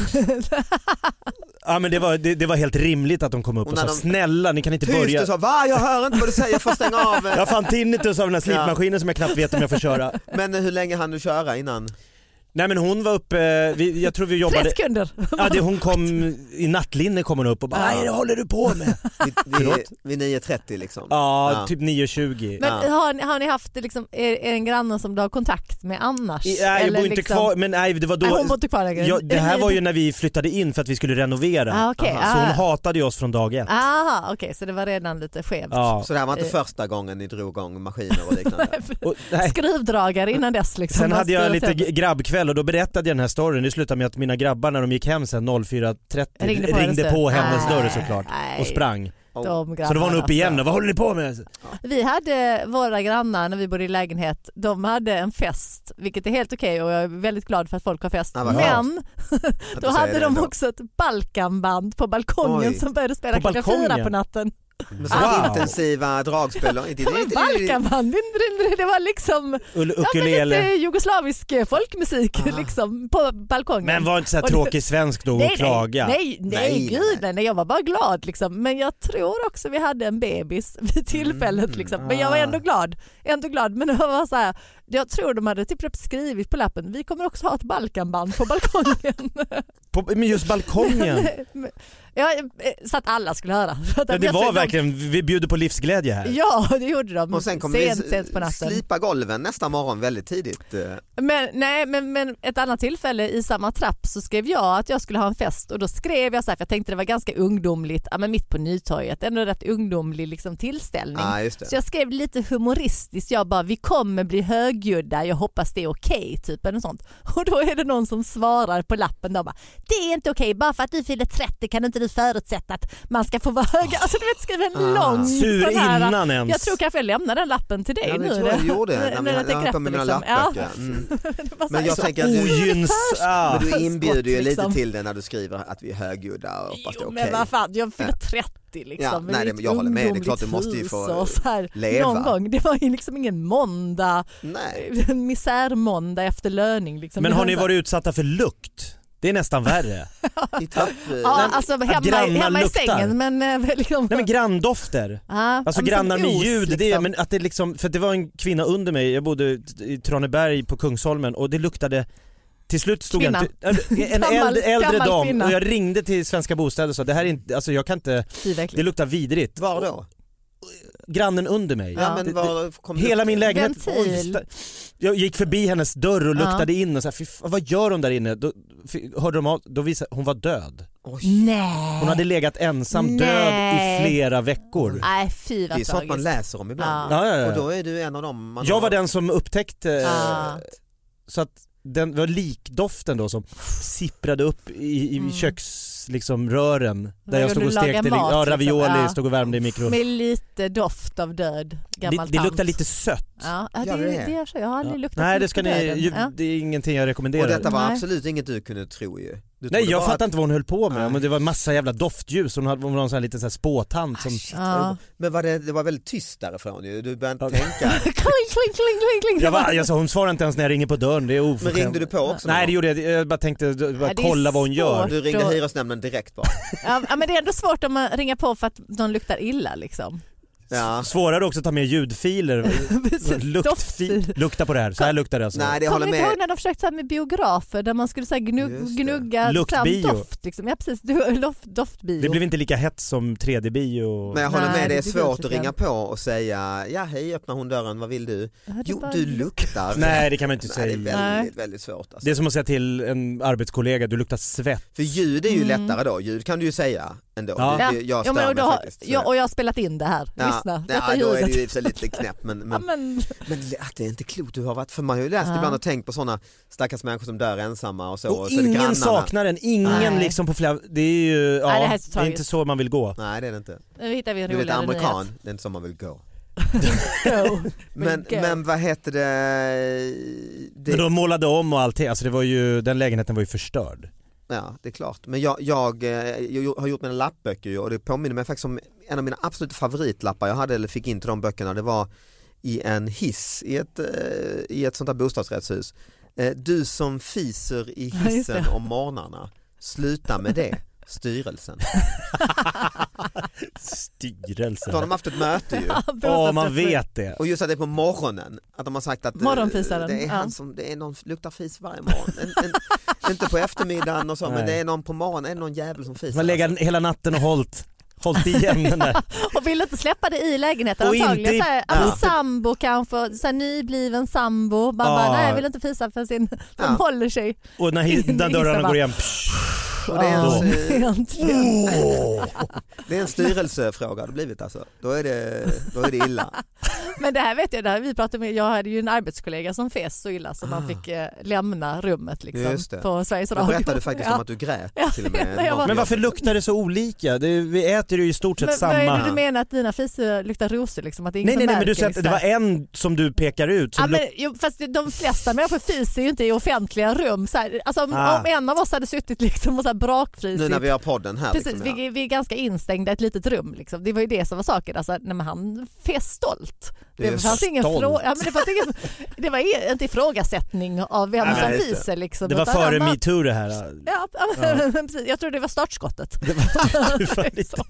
[SPEAKER 4] Ja men det var, det, det var helt rimligt att de kom upp och,
[SPEAKER 2] Och när
[SPEAKER 4] sa
[SPEAKER 2] de-
[SPEAKER 4] snälla ni kan inte
[SPEAKER 2] Tyst
[SPEAKER 4] börja.
[SPEAKER 2] du sa, va jag hör inte vad du säger, jag får stänga av. eh."
[SPEAKER 4] Jag fann tinnitus av den här slipmaskinen som jag knappt vet om jag får köra.
[SPEAKER 2] Men eh, hur länge hann du köra innan?
[SPEAKER 4] Nej men hon var uppe, vi, jag tror vi
[SPEAKER 3] Tre
[SPEAKER 4] jobbade,
[SPEAKER 3] sekunder.
[SPEAKER 4] ja, det, hon kom, i nattlinne kom hon upp och bara
[SPEAKER 2] Ja.
[SPEAKER 4] nej det håller du på med?
[SPEAKER 2] Vid, vid, vid 9.30 liksom?
[SPEAKER 4] Ja, typ 9.20.
[SPEAKER 3] Men har, ni, har ni haft liksom, är, är det en granne som du har kontakt med annars?
[SPEAKER 4] I- Nej jag
[SPEAKER 3] Eller
[SPEAKER 4] bor inte
[SPEAKER 3] liksom-
[SPEAKER 4] kvar, men nej det var då,
[SPEAKER 3] Nej, hon bor inte kvar längre.
[SPEAKER 4] ja, det här
[SPEAKER 3] Nej,
[SPEAKER 4] var ju när vi flyttade in för att vi skulle renovera.
[SPEAKER 3] Ah, okej.
[SPEAKER 4] Så hon
[SPEAKER 3] Ah.
[SPEAKER 4] hatade ju oss från dag ett.
[SPEAKER 3] Aha, okej, så det var redan lite skevt.
[SPEAKER 4] Ja.
[SPEAKER 2] Så det här var inte
[SPEAKER 3] Eh.
[SPEAKER 2] första gången ni drog igång maskiner och liknande?
[SPEAKER 4] Och, nej.
[SPEAKER 3] Skruvdragare innan dess liksom.
[SPEAKER 4] Sen
[SPEAKER 3] Man
[SPEAKER 4] hade jag
[SPEAKER 3] styr
[SPEAKER 4] lite
[SPEAKER 3] åt det.
[SPEAKER 4] g- grabbkväll och då berättade jag den här storyn. Det slutade med att mina grabbar när de gick hem sen 04.30
[SPEAKER 3] Ringde
[SPEAKER 4] ringde
[SPEAKER 3] på
[SPEAKER 4] på,
[SPEAKER 3] hennes dörr.
[SPEAKER 4] hennes
[SPEAKER 3] Nej.
[SPEAKER 4] dörr såklart och sprang.
[SPEAKER 2] Oh.
[SPEAKER 3] De
[SPEAKER 4] Så då var hon
[SPEAKER 3] grabbarna,
[SPEAKER 4] uppe igen
[SPEAKER 3] alltså.
[SPEAKER 4] och vad håller ni på med?
[SPEAKER 3] Vi hade våra grannar när vi bodde i lägenhet, de hade en fest, vilket är helt okej och jag är väldigt glad för att folk har fest.
[SPEAKER 2] Ja, vad
[SPEAKER 3] Men
[SPEAKER 2] Att
[SPEAKER 3] då
[SPEAKER 2] du säger
[SPEAKER 3] hade
[SPEAKER 2] det
[SPEAKER 3] de
[SPEAKER 2] ändå.
[SPEAKER 3] också ett Balkanband på balkongen
[SPEAKER 2] Oj.
[SPEAKER 3] som började spela
[SPEAKER 4] På
[SPEAKER 3] klockan
[SPEAKER 4] balkongen?
[SPEAKER 3] fyra på natten.
[SPEAKER 2] Men så
[SPEAKER 4] Wow.
[SPEAKER 2] intensiva dragspel och inte...
[SPEAKER 3] Det var en Balkanband, det var liksom
[SPEAKER 4] Ull-
[SPEAKER 3] ja, men lite
[SPEAKER 4] Ukulele.
[SPEAKER 3] jugoslavisk eh, folkmusik
[SPEAKER 2] Ah.
[SPEAKER 3] liksom på balkongen.
[SPEAKER 4] Men var inte så här
[SPEAKER 3] Och det-
[SPEAKER 4] tråkig svensk då och klaga.
[SPEAKER 3] Nej, nej, nej,
[SPEAKER 2] Nej,
[SPEAKER 3] gud
[SPEAKER 2] nej.
[SPEAKER 3] nej. nej, jag var bara glad liksom. Men jag tror också vi hade en bebis vid tillfället liksom. Men jag var ändå glad. Ändå glad. Men det var så här, jag tror de hade typ skrivit på lappen, vi kommer också ha ett Balkanband på balkongen.
[SPEAKER 4] På, men just balkongen.
[SPEAKER 3] ja, eh, så att alla skulle höra. Så att
[SPEAKER 4] Ja, det
[SPEAKER 3] jag tror
[SPEAKER 4] var
[SPEAKER 3] de-
[SPEAKER 4] verkligen, vi bjuder på livsglädje här.
[SPEAKER 3] Ja, det gjorde de.
[SPEAKER 2] Och sen kom
[SPEAKER 3] sent,
[SPEAKER 2] vi
[SPEAKER 3] sent på natten. Alltså,
[SPEAKER 2] slipa golven nästa morgon väldigt tidigt. eh.
[SPEAKER 3] Men, nej, men, men ett annat tillfälle i samma trapp så skrev jag att jag skulle ha en fest och då skrev jag så här, för jag tänkte det var ganska ungdomligt, ja, men mitt på Nytorget, ändå rätt ungdomlig liksom, tillställning.
[SPEAKER 2] Ah, just det.
[SPEAKER 3] Så jag skrev lite humoristiskt, jag bara vi kommer bli högljudda, jag hoppas det är okej, typ eller något sånt. Och då är det någon som svarar på lappen då bara, det är inte okej, bara för att du fyller 30 kan inte du förutsätta att man ska få vara hög. Alltså du vet skriva en
[SPEAKER 2] Ah.
[SPEAKER 3] lång
[SPEAKER 4] Sur
[SPEAKER 3] sån här,
[SPEAKER 4] innan ens.
[SPEAKER 3] Jag tror kanske jag lämnar den lappen till dig
[SPEAKER 2] Ja,
[SPEAKER 3] nu.
[SPEAKER 2] det tror jag du gjorde. Nej, men
[SPEAKER 3] när
[SPEAKER 2] jag,
[SPEAKER 3] tänker
[SPEAKER 2] jag
[SPEAKER 3] efter,
[SPEAKER 2] kom med mina
[SPEAKER 3] liksom. Ja.
[SPEAKER 2] lappar. Ja. Mm.
[SPEAKER 3] Det var så
[SPEAKER 2] Men
[SPEAKER 3] här-
[SPEAKER 2] jag
[SPEAKER 3] så-
[SPEAKER 2] tänker att du,
[SPEAKER 4] Ogynns... Ah.
[SPEAKER 2] men du inbjuder ju lite
[SPEAKER 3] liksom.
[SPEAKER 2] till det när du skriver att vi är högljudda och hoppas det är
[SPEAKER 3] Jo,
[SPEAKER 2] okej.
[SPEAKER 3] Men vad fan, jag fyller
[SPEAKER 2] Ja.
[SPEAKER 3] 30 liksom.
[SPEAKER 2] Ja, nej,
[SPEAKER 3] Men det är
[SPEAKER 2] men
[SPEAKER 3] ett
[SPEAKER 2] jag håller med. Det är
[SPEAKER 3] ungdomligt
[SPEAKER 2] klart du måste ju få,
[SPEAKER 3] hus och så här,
[SPEAKER 2] leva.
[SPEAKER 3] Någon gång. Det var ju liksom ingen måndag,
[SPEAKER 2] Nej.
[SPEAKER 3] en misärmåndag efter löning. Liksom.
[SPEAKER 4] Men
[SPEAKER 3] Det
[SPEAKER 4] har
[SPEAKER 3] var
[SPEAKER 4] ni
[SPEAKER 3] så-
[SPEAKER 4] varit utsatta för lukt? Det är nästan värre.
[SPEAKER 2] I trapp, eh,
[SPEAKER 3] Ja,
[SPEAKER 4] Nej, men-
[SPEAKER 3] alltså
[SPEAKER 4] att
[SPEAKER 3] hemma, i-
[SPEAKER 4] grannar
[SPEAKER 3] hemma i
[SPEAKER 4] luktar?
[SPEAKER 3] sängen men eh, liksom...
[SPEAKER 4] Nej men granndofter.
[SPEAKER 3] Ja,
[SPEAKER 4] Alltså
[SPEAKER 3] men som
[SPEAKER 4] grannar med
[SPEAKER 3] os,
[SPEAKER 4] ljud, det, är-
[SPEAKER 3] liksom.
[SPEAKER 4] men att det liksom, för det var en kvinna under mig, jag bodde t- i Traneberg på Kungsholmen och det luktade till slut stod
[SPEAKER 3] Kvinna.
[SPEAKER 4] jag inte, en
[SPEAKER 3] Gammal-
[SPEAKER 4] äldre, äldre
[SPEAKER 3] gammal
[SPEAKER 4] dam
[SPEAKER 3] kvinna.
[SPEAKER 4] och jag ringde till Svenska Bostäder och sa det här är inte, alltså jag kan inte,
[SPEAKER 3] Fy, vad äckligt.
[SPEAKER 4] det luktar vidrigt.
[SPEAKER 2] Var då?
[SPEAKER 4] Grannen under mig.
[SPEAKER 2] Ja, men var kom
[SPEAKER 4] Hela min lägenhet,
[SPEAKER 3] Ventil.
[SPEAKER 4] Oj, sta- jag gick förbi hennes dörr och
[SPEAKER 3] Ja.
[SPEAKER 4] luktade in och så här, "Fy fan, vad gör hon där inne? Då, fy- hörde de av, då visade, hon var död.
[SPEAKER 2] Oj,
[SPEAKER 3] Nej.
[SPEAKER 4] Hon hade legat ensam död i
[SPEAKER 3] Nej.
[SPEAKER 4] flera veckor.
[SPEAKER 3] Nej fy vad
[SPEAKER 2] det är sånt man
[SPEAKER 3] tragiskt.
[SPEAKER 2] läser om ibland.
[SPEAKER 4] Ja, ja, ja.
[SPEAKER 2] Och då är du en av dem. Man
[SPEAKER 4] Jag
[SPEAKER 2] har-
[SPEAKER 4] var den som upptäckte,
[SPEAKER 3] Ah.
[SPEAKER 4] så att den var likdoften då som sipprade upp i, i köks, liksom, rören där
[SPEAKER 3] Mm. När
[SPEAKER 4] jag stod
[SPEAKER 3] du
[SPEAKER 4] och
[SPEAKER 3] lagar
[SPEAKER 4] stekte li-
[SPEAKER 3] mat,
[SPEAKER 4] ja,
[SPEAKER 3] liksom.
[SPEAKER 4] ravioli,
[SPEAKER 3] Ja.
[SPEAKER 4] stod och värmde i mikron.
[SPEAKER 3] Med lite doft av död,
[SPEAKER 4] Det,
[SPEAKER 3] gammal
[SPEAKER 4] det
[SPEAKER 3] tant.
[SPEAKER 4] luktar lite sött.
[SPEAKER 3] Ja, ja, det,
[SPEAKER 2] Ja, det är
[SPEAKER 3] det
[SPEAKER 2] det.
[SPEAKER 3] gör så. Jag har aldrig
[SPEAKER 4] Ja.
[SPEAKER 3] luktat
[SPEAKER 4] Nej
[SPEAKER 3] så
[SPEAKER 4] det ska
[SPEAKER 3] mycket
[SPEAKER 4] ni,
[SPEAKER 3] döden.
[SPEAKER 4] ju,
[SPEAKER 3] Ja.
[SPEAKER 4] det är ingenting jag
[SPEAKER 2] Och
[SPEAKER 4] rekommenderar.
[SPEAKER 2] detta var
[SPEAKER 3] Nej.
[SPEAKER 2] absolut inget du kunde tro ju. Du
[SPEAKER 4] Nej
[SPEAKER 2] trodde
[SPEAKER 4] jag
[SPEAKER 2] bara
[SPEAKER 4] fattar inte vad hon höll på med,
[SPEAKER 2] Nej.
[SPEAKER 4] men det var massa jävla doftljus, hon hade hon var någon sån här liten så här spåtant som...
[SPEAKER 3] Ja.
[SPEAKER 2] Att, men var det, det var väldigt tyst därifrån ju. Du började inte
[SPEAKER 4] Okej.
[SPEAKER 2] tänka.
[SPEAKER 3] Kling, kling, kling, kling, kling.
[SPEAKER 4] Jag var, jag sa, hon svarar inte ens när jag ringer på dörren, det är
[SPEAKER 2] Men
[SPEAKER 4] oförskämt.
[SPEAKER 2] ringde du på också? någon
[SPEAKER 4] Nej det
[SPEAKER 2] gång?
[SPEAKER 4] gjorde jag jag bara tänkte bara
[SPEAKER 3] Ja, det är
[SPEAKER 4] kolla vad hon gör.
[SPEAKER 3] svårt.
[SPEAKER 2] Du ringde
[SPEAKER 3] Då-
[SPEAKER 2] hyresnämnden direkt bara.
[SPEAKER 3] Ja, men det är ändå svårt om man ringer på för att de luktar illa liksom.
[SPEAKER 2] Ja.
[SPEAKER 4] Svårare också att ta med ljudfiler.
[SPEAKER 3] Precis,
[SPEAKER 4] Luktfil.
[SPEAKER 3] doftfil.
[SPEAKER 4] Lukta på det här, så här luktar det alltså.
[SPEAKER 2] Nej, det
[SPEAKER 3] Kommer
[SPEAKER 2] håller
[SPEAKER 3] du inte ihåg
[SPEAKER 2] med.
[SPEAKER 3] när de försökte så här med biografer där man skulle så här
[SPEAKER 2] Just
[SPEAKER 3] gnugg,
[SPEAKER 2] det.
[SPEAKER 3] gnugga
[SPEAKER 4] Luktbio.
[SPEAKER 3] fram doft? Liksom. Ja precis, du, loft, doftbio.
[SPEAKER 4] Det blev inte lika hett som 3D-bio.
[SPEAKER 2] Men jag håller
[SPEAKER 3] Nej,
[SPEAKER 2] med, det är
[SPEAKER 3] det tycker jag
[SPEAKER 2] svårt
[SPEAKER 3] inte
[SPEAKER 2] att
[SPEAKER 3] jag.
[SPEAKER 2] ringa på och säga ja hej öppnar hon dörren, vad vill du?
[SPEAKER 3] Ja, det
[SPEAKER 2] Jo
[SPEAKER 3] bara-
[SPEAKER 2] du luktar.
[SPEAKER 4] Nej, det kan man inte
[SPEAKER 2] Nej,
[SPEAKER 4] säga.
[SPEAKER 2] det är väldigt, väldigt svårt. Alltså.
[SPEAKER 4] Det är som att säga till en arbetskollega, du luktar svett.
[SPEAKER 2] För ljud är ju lättare då, ljud kan du ju säga ändå.
[SPEAKER 4] Ja.
[SPEAKER 2] Det-
[SPEAKER 3] Ja.
[SPEAKER 2] det- Jag
[SPEAKER 3] Mm. ja,
[SPEAKER 2] stör
[SPEAKER 3] men och, då,
[SPEAKER 2] mig
[SPEAKER 3] har-
[SPEAKER 2] faktiskt.
[SPEAKER 3] ja, och jag har spelat in det här.
[SPEAKER 2] Ja,
[SPEAKER 3] Lyssna,
[SPEAKER 2] ja,
[SPEAKER 3] detta
[SPEAKER 2] då är det ju i och
[SPEAKER 3] ljudet.
[SPEAKER 2] för sig lite knäpp men,
[SPEAKER 3] Ja,
[SPEAKER 2] men,
[SPEAKER 3] men,
[SPEAKER 2] men att det är inte klokt du har varit, för man har ju läst
[SPEAKER 3] Ja.
[SPEAKER 2] ibland och tänkt på sådana stackars människor som dör ensamma och så.
[SPEAKER 4] Och
[SPEAKER 2] så är det grannarna.
[SPEAKER 4] ingen saknar den, ingen
[SPEAKER 3] Nej.
[SPEAKER 4] liksom på flera, det är ju, ja,
[SPEAKER 3] Nej, det här är så
[SPEAKER 4] det, är
[SPEAKER 3] tragiskt.
[SPEAKER 4] inte så man vill gå.
[SPEAKER 2] Nej det är det inte.
[SPEAKER 3] nu hittar vi en
[SPEAKER 2] Du vet
[SPEAKER 3] roligare
[SPEAKER 2] amerikan, det är inte så man vill gå.
[SPEAKER 3] nyhet. Go.
[SPEAKER 2] Men,
[SPEAKER 3] go.
[SPEAKER 2] men vad heter det? det
[SPEAKER 4] Men de målade om och allting, alltså det var ju, den lägenheten var ju förstörd.
[SPEAKER 2] Ja, det är klart. Men jag, jag, eh, jag har gjort mina lappböcker ju och det påminner mig faktiskt om en av mina absoluta favoritlappar jag hade eller fick in till de böckerna. Det var i en hiss i ett, eh, i ett sånt här bostadsrättshus. Eh, Du som fiser i
[SPEAKER 3] Ja, just det.
[SPEAKER 2] hissen om morgnarna, sluta med det. Styrelsen. Då har
[SPEAKER 4] Styrelsen.
[SPEAKER 2] de haft ett möte ju.
[SPEAKER 4] Ja, man vet det.
[SPEAKER 2] Och just att det är på morgonen, att de har sagt att eh,
[SPEAKER 3] Morgonfisaren,
[SPEAKER 2] det är han
[SPEAKER 3] ja.
[SPEAKER 2] som, det är någon som luktar fis varje morgon. En, en, inte på eftermiddagen och så,
[SPEAKER 4] Nej.
[SPEAKER 2] men det är någon på morgonen, är det någon jävel som fisar.
[SPEAKER 4] Man lägger hela natten och hållit, hållit igen den där.
[SPEAKER 3] Och vill inte släppa det i lägenheten
[SPEAKER 4] Och inte i
[SPEAKER 3] antagligen. Så här, alltså,
[SPEAKER 4] puppen.
[SPEAKER 3] Sambo kanske, så här, nybliven sambo. Man
[SPEAKER 4] Ja.
[SPEAKER 3] bara, nej jag vill inte fisa för sin,
[SPEAKER 2] Ja.
[SPEAKER 3] de håller sig.
[SPEAKER 4] Och när, hi- när dörrarna går igen, psh,
[SPEAKER 2] Och det är
[SPEAKER 3] Ja,
[SPEAKER 2] ens, eh,
[SPEAKER 3] egentligen.
[SPEAKER 4] Oh.
[SPEAKER 2] Det är en styrelsefråga det har blivit alltså. Då är det, då är det illa.
[SPEAKER 3] Men det här vet jag, det här vi pratade med, jag hade ju en arbetskollega som fes så illa så
[SPEAKER 4] Ah.
[SPEAKER 3] man fick eh, lämna rummet
[SPEAKER 2] Just det.
[SPEAKER 3] liksom, på Sveriges
[SPEAKER 2] Då
[SPEAKER 3] Radio.
[SPEAKER 2] berättade du faktiskt
[SPEAKER 3] Ja.
[SPEAKER 2] om att du grät
[SPEAKER 3] Ja,
[SPEAKER 2] till och med.
[SPEAKER 3] jag bara-
[SPEAKER 4] men varför luktar det så olika? Det, vi äter ju i stort sett
[SPEAKER 3] Men
[SPEAKER 4] samma.
[SPEAKER 3] Vad är det du menar att dina fisar luktar rosor? Liksom, att det är ingen
[SPEAKER 4] nej, nej,
[SPEAKER 3] som
[SPEAKER 4] nej, men
[SPEAKER 3] märker,
[SPEAKER 4] du säger att det
[SPEAKER 3] liksom.
[SPEAKER 4] var en som du pekar ut som
[SPEAKER 3] Ja,
[SPEAKER 4] luktar
[SPEAKER 3] men, jo, fast de flesta människor fiser ju inte i offentliga rum. Så här, alltså, om,
[SPEAKER 4] Ah.
[SPEAKER 3] om en av oss hade suttit liksom och så här brakfrisigt.
[SPEAKER 2] Nu när vi har podden här.
[SPEAKER 3] Precis,
[SPEAKER 2] liksom, ja.
[SPEAKER 3] vi, vi är ganska instängda i ett litet rum. Liksom. Det var ju det som var saken. Alltså, nej, men han fes stolt.
[SPEAKER 2] Det är
[SPEAKER 3] ingen
[SPEAKER 4] stolt.
[SPEAKER 3] frå- ja, men det, fanns ingen, det var i- inte ifrågasättning av vem
[SPEAKER 2] Nej,
[SPEAKER 3] som
[SPEAKER 2] just det.
[SPEAKER 3] fiser. Liksom,
[SPEAKER 4] Det var
[SPEAKER 3] utan
[SPEAKER 4] före
[SPEAKER 3] han bara-
[SPEAKER 4] metoo det här.
[SPEAKER 3] Ja, ja. precis. Jag tror det var startskottet.
[SPEAKER 4] Det, var, det, var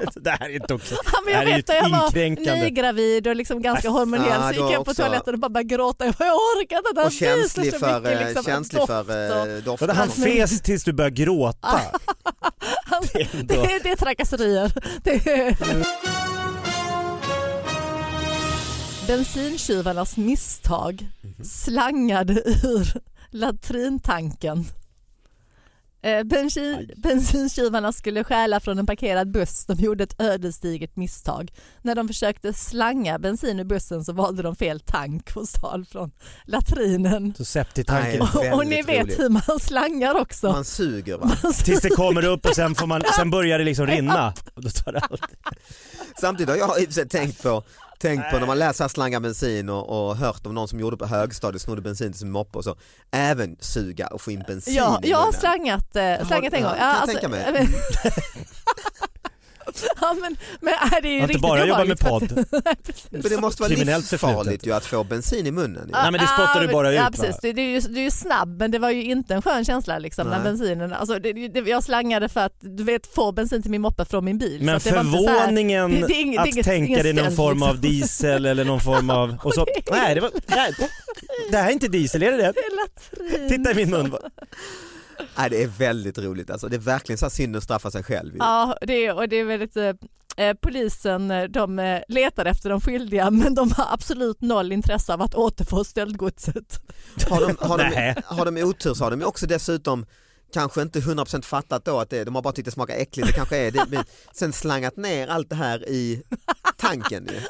[SPEAKER 4] lite, det här är inte okej.
[SPEAKER 3] Ja, men jag
[SPEAKER 4] det här
[SPEAKER 3] vet
[SPEAKER 4] är
[SPEAKER 3] att jag
[SPEAKER 4] ju
[SPEAKER 3] var
[SPEAKER 4] inkränkande.
[SPEAKER 3] nygravid och liksom ganska
[SPEAKER 2] Ah,
[SPEAKER 3] hormonell så
[SPEAKER 2] då
[SPEAKER 3] gick jag på
[SPEAKER 2] också.
[SPEAKER 3] toaletten och bara började gråta. Jag orkar inte, det här
[SPEAKER 2] och känslig
[SPEAKER 3] fiser så
[SPEAKER 2] för,
[SPEAKER 3] mycket,
[SPEAKER 2] eh,
[SPEAKER 3] liksom,
[SPEAKER 2] känslig
[SPEAKER 3] doft
[SPEAKER 2] för
[SPEAKER 3] och-
[SPEAKER 2] eh,
[SPEAKER 4] Vadå,
[SPEAKER 2] doften.
[SPEAKER 4] han
[SPEAKER 2] Som-
[SPEAKER 4] fes tills du började gråta? Det är ändå-
[SPEAKER 3] det, det är trakasserier. Det är... Bensintjuvarnas misstag
[SPEAKER 2] Mhm.
[SPEAKER 3] slangade ur latrintanken. Eh, Bensin, bensintjuvarna skulle stjäla från en parkerad buss. De gjorde ett ödesdigert misstag. När de försökte slanga bensin ur bussen så valde de fel tank och stal från latrinen.
[SPEAKER 4] Så septitanken.
[SPEAKER 2] Nej. väldigt
[SPEAKER 3] Och, och ni vet
[SPEAKER 2] roligt.
[SPEAKER 3] hur man slangar också.
[SPEAKER 2] Man suger va?
[SPEAKER 4] Tills det kommer upp och sen, får man, sen börjar det liksom rinna. Och då tar det allt.
[SPEAKER 2] Samtidigt har jag i och för sig tänkt på Tänk på när man läser här slanga bensin och, och hört om någon som gjorde på högstadiet snodde bensin till sin moppe och så. Även suga och få in bensin
[SPEAKER 3] Ja,
[SPEAKER 2] i
[SPEAKER 3] jag har
[SPEAKER 2] munnen.
[SPEAKER 3] slangat, eh, slangat en
[SPEAKER 2] ja,
[SPEAKER 3] gång.
[SPEAKER 2] kan jag tänka mig.
[SPEAKER 3] men- ja, men, men är det är ju
[SPEAKER 4] Inte
[SPEAKER 3] riktigt
[SPEAKER 4] bara jobba med
[SPEAKER 3] obehagligt för att-
[SPEAKER 4] podd.
[SPEAKER 2] Men det måste vara
[SPEAKER 4] Kriminellt förflutet.
[SPEAKER 2] livsfarligt ju att få bensin i munnen. Ju.
[SPEAKER 4] Nej, men det spottar
[SPEAKER 3] Ja,
[SPEAKER 4] du bara ut,
[SPEAKER 3] Ja,
[SPEAKER 4] va?
[SPEAKER 3] precis. Du, du, är ju, du är ju snabb men det var ju inte en skön känsla liksom, när
[SPEAKER 2] Nej.
[SPEAKER 3] bensinen... Alltså, det, det, jag slangade för att du vet, få bensin till min moppe från min bil.
[SPEAKER 4] Men
[SPEAKER 3] så att det var inte så här-
[SPEAKER 4] förvåningen
[SPEAKER 3] det- det är inget- det är
[SPEAKER 4] att
[SPEAKER 3] inget-
[SPEAKER 4] tänka
[SPEAKER 3] ingen
[SPEAKER 4] dig någon
[SPEAKER 3] stöld,
[SPEAKER 4] form
[SPEAKER 3] liksom.
[SPEAKER 4] av diesel eller någon form av... Och så, nej, det, var, nej, det här är inte diesel, är det det?
[SPEAKER 3] Det är latrin.
[SPEAKER 4] Titta i min mun.
[SPEAKER 2] Nej, det är väldigt roligt alltså. Det är verkligen så här synd att straffa sig själv. Ju.
[SPEAKER 3] Ja, det är, och det är väldigt... eh, eh, Polisen eh, de eh, letar efter de skyldiga men de har absolut noll intresse av att återfå stöldgodset.
[SPEAKER 2] Har de, har,
[SPEAKER 4] Nej.
[SPEAKER 2] de, har de otur så har de ju också dessutom kanske inte 100% fattat då att det, de har bara tyckt det smakar äckligt, det kanske är det, men sen slangat ner allt det här i tanken ju,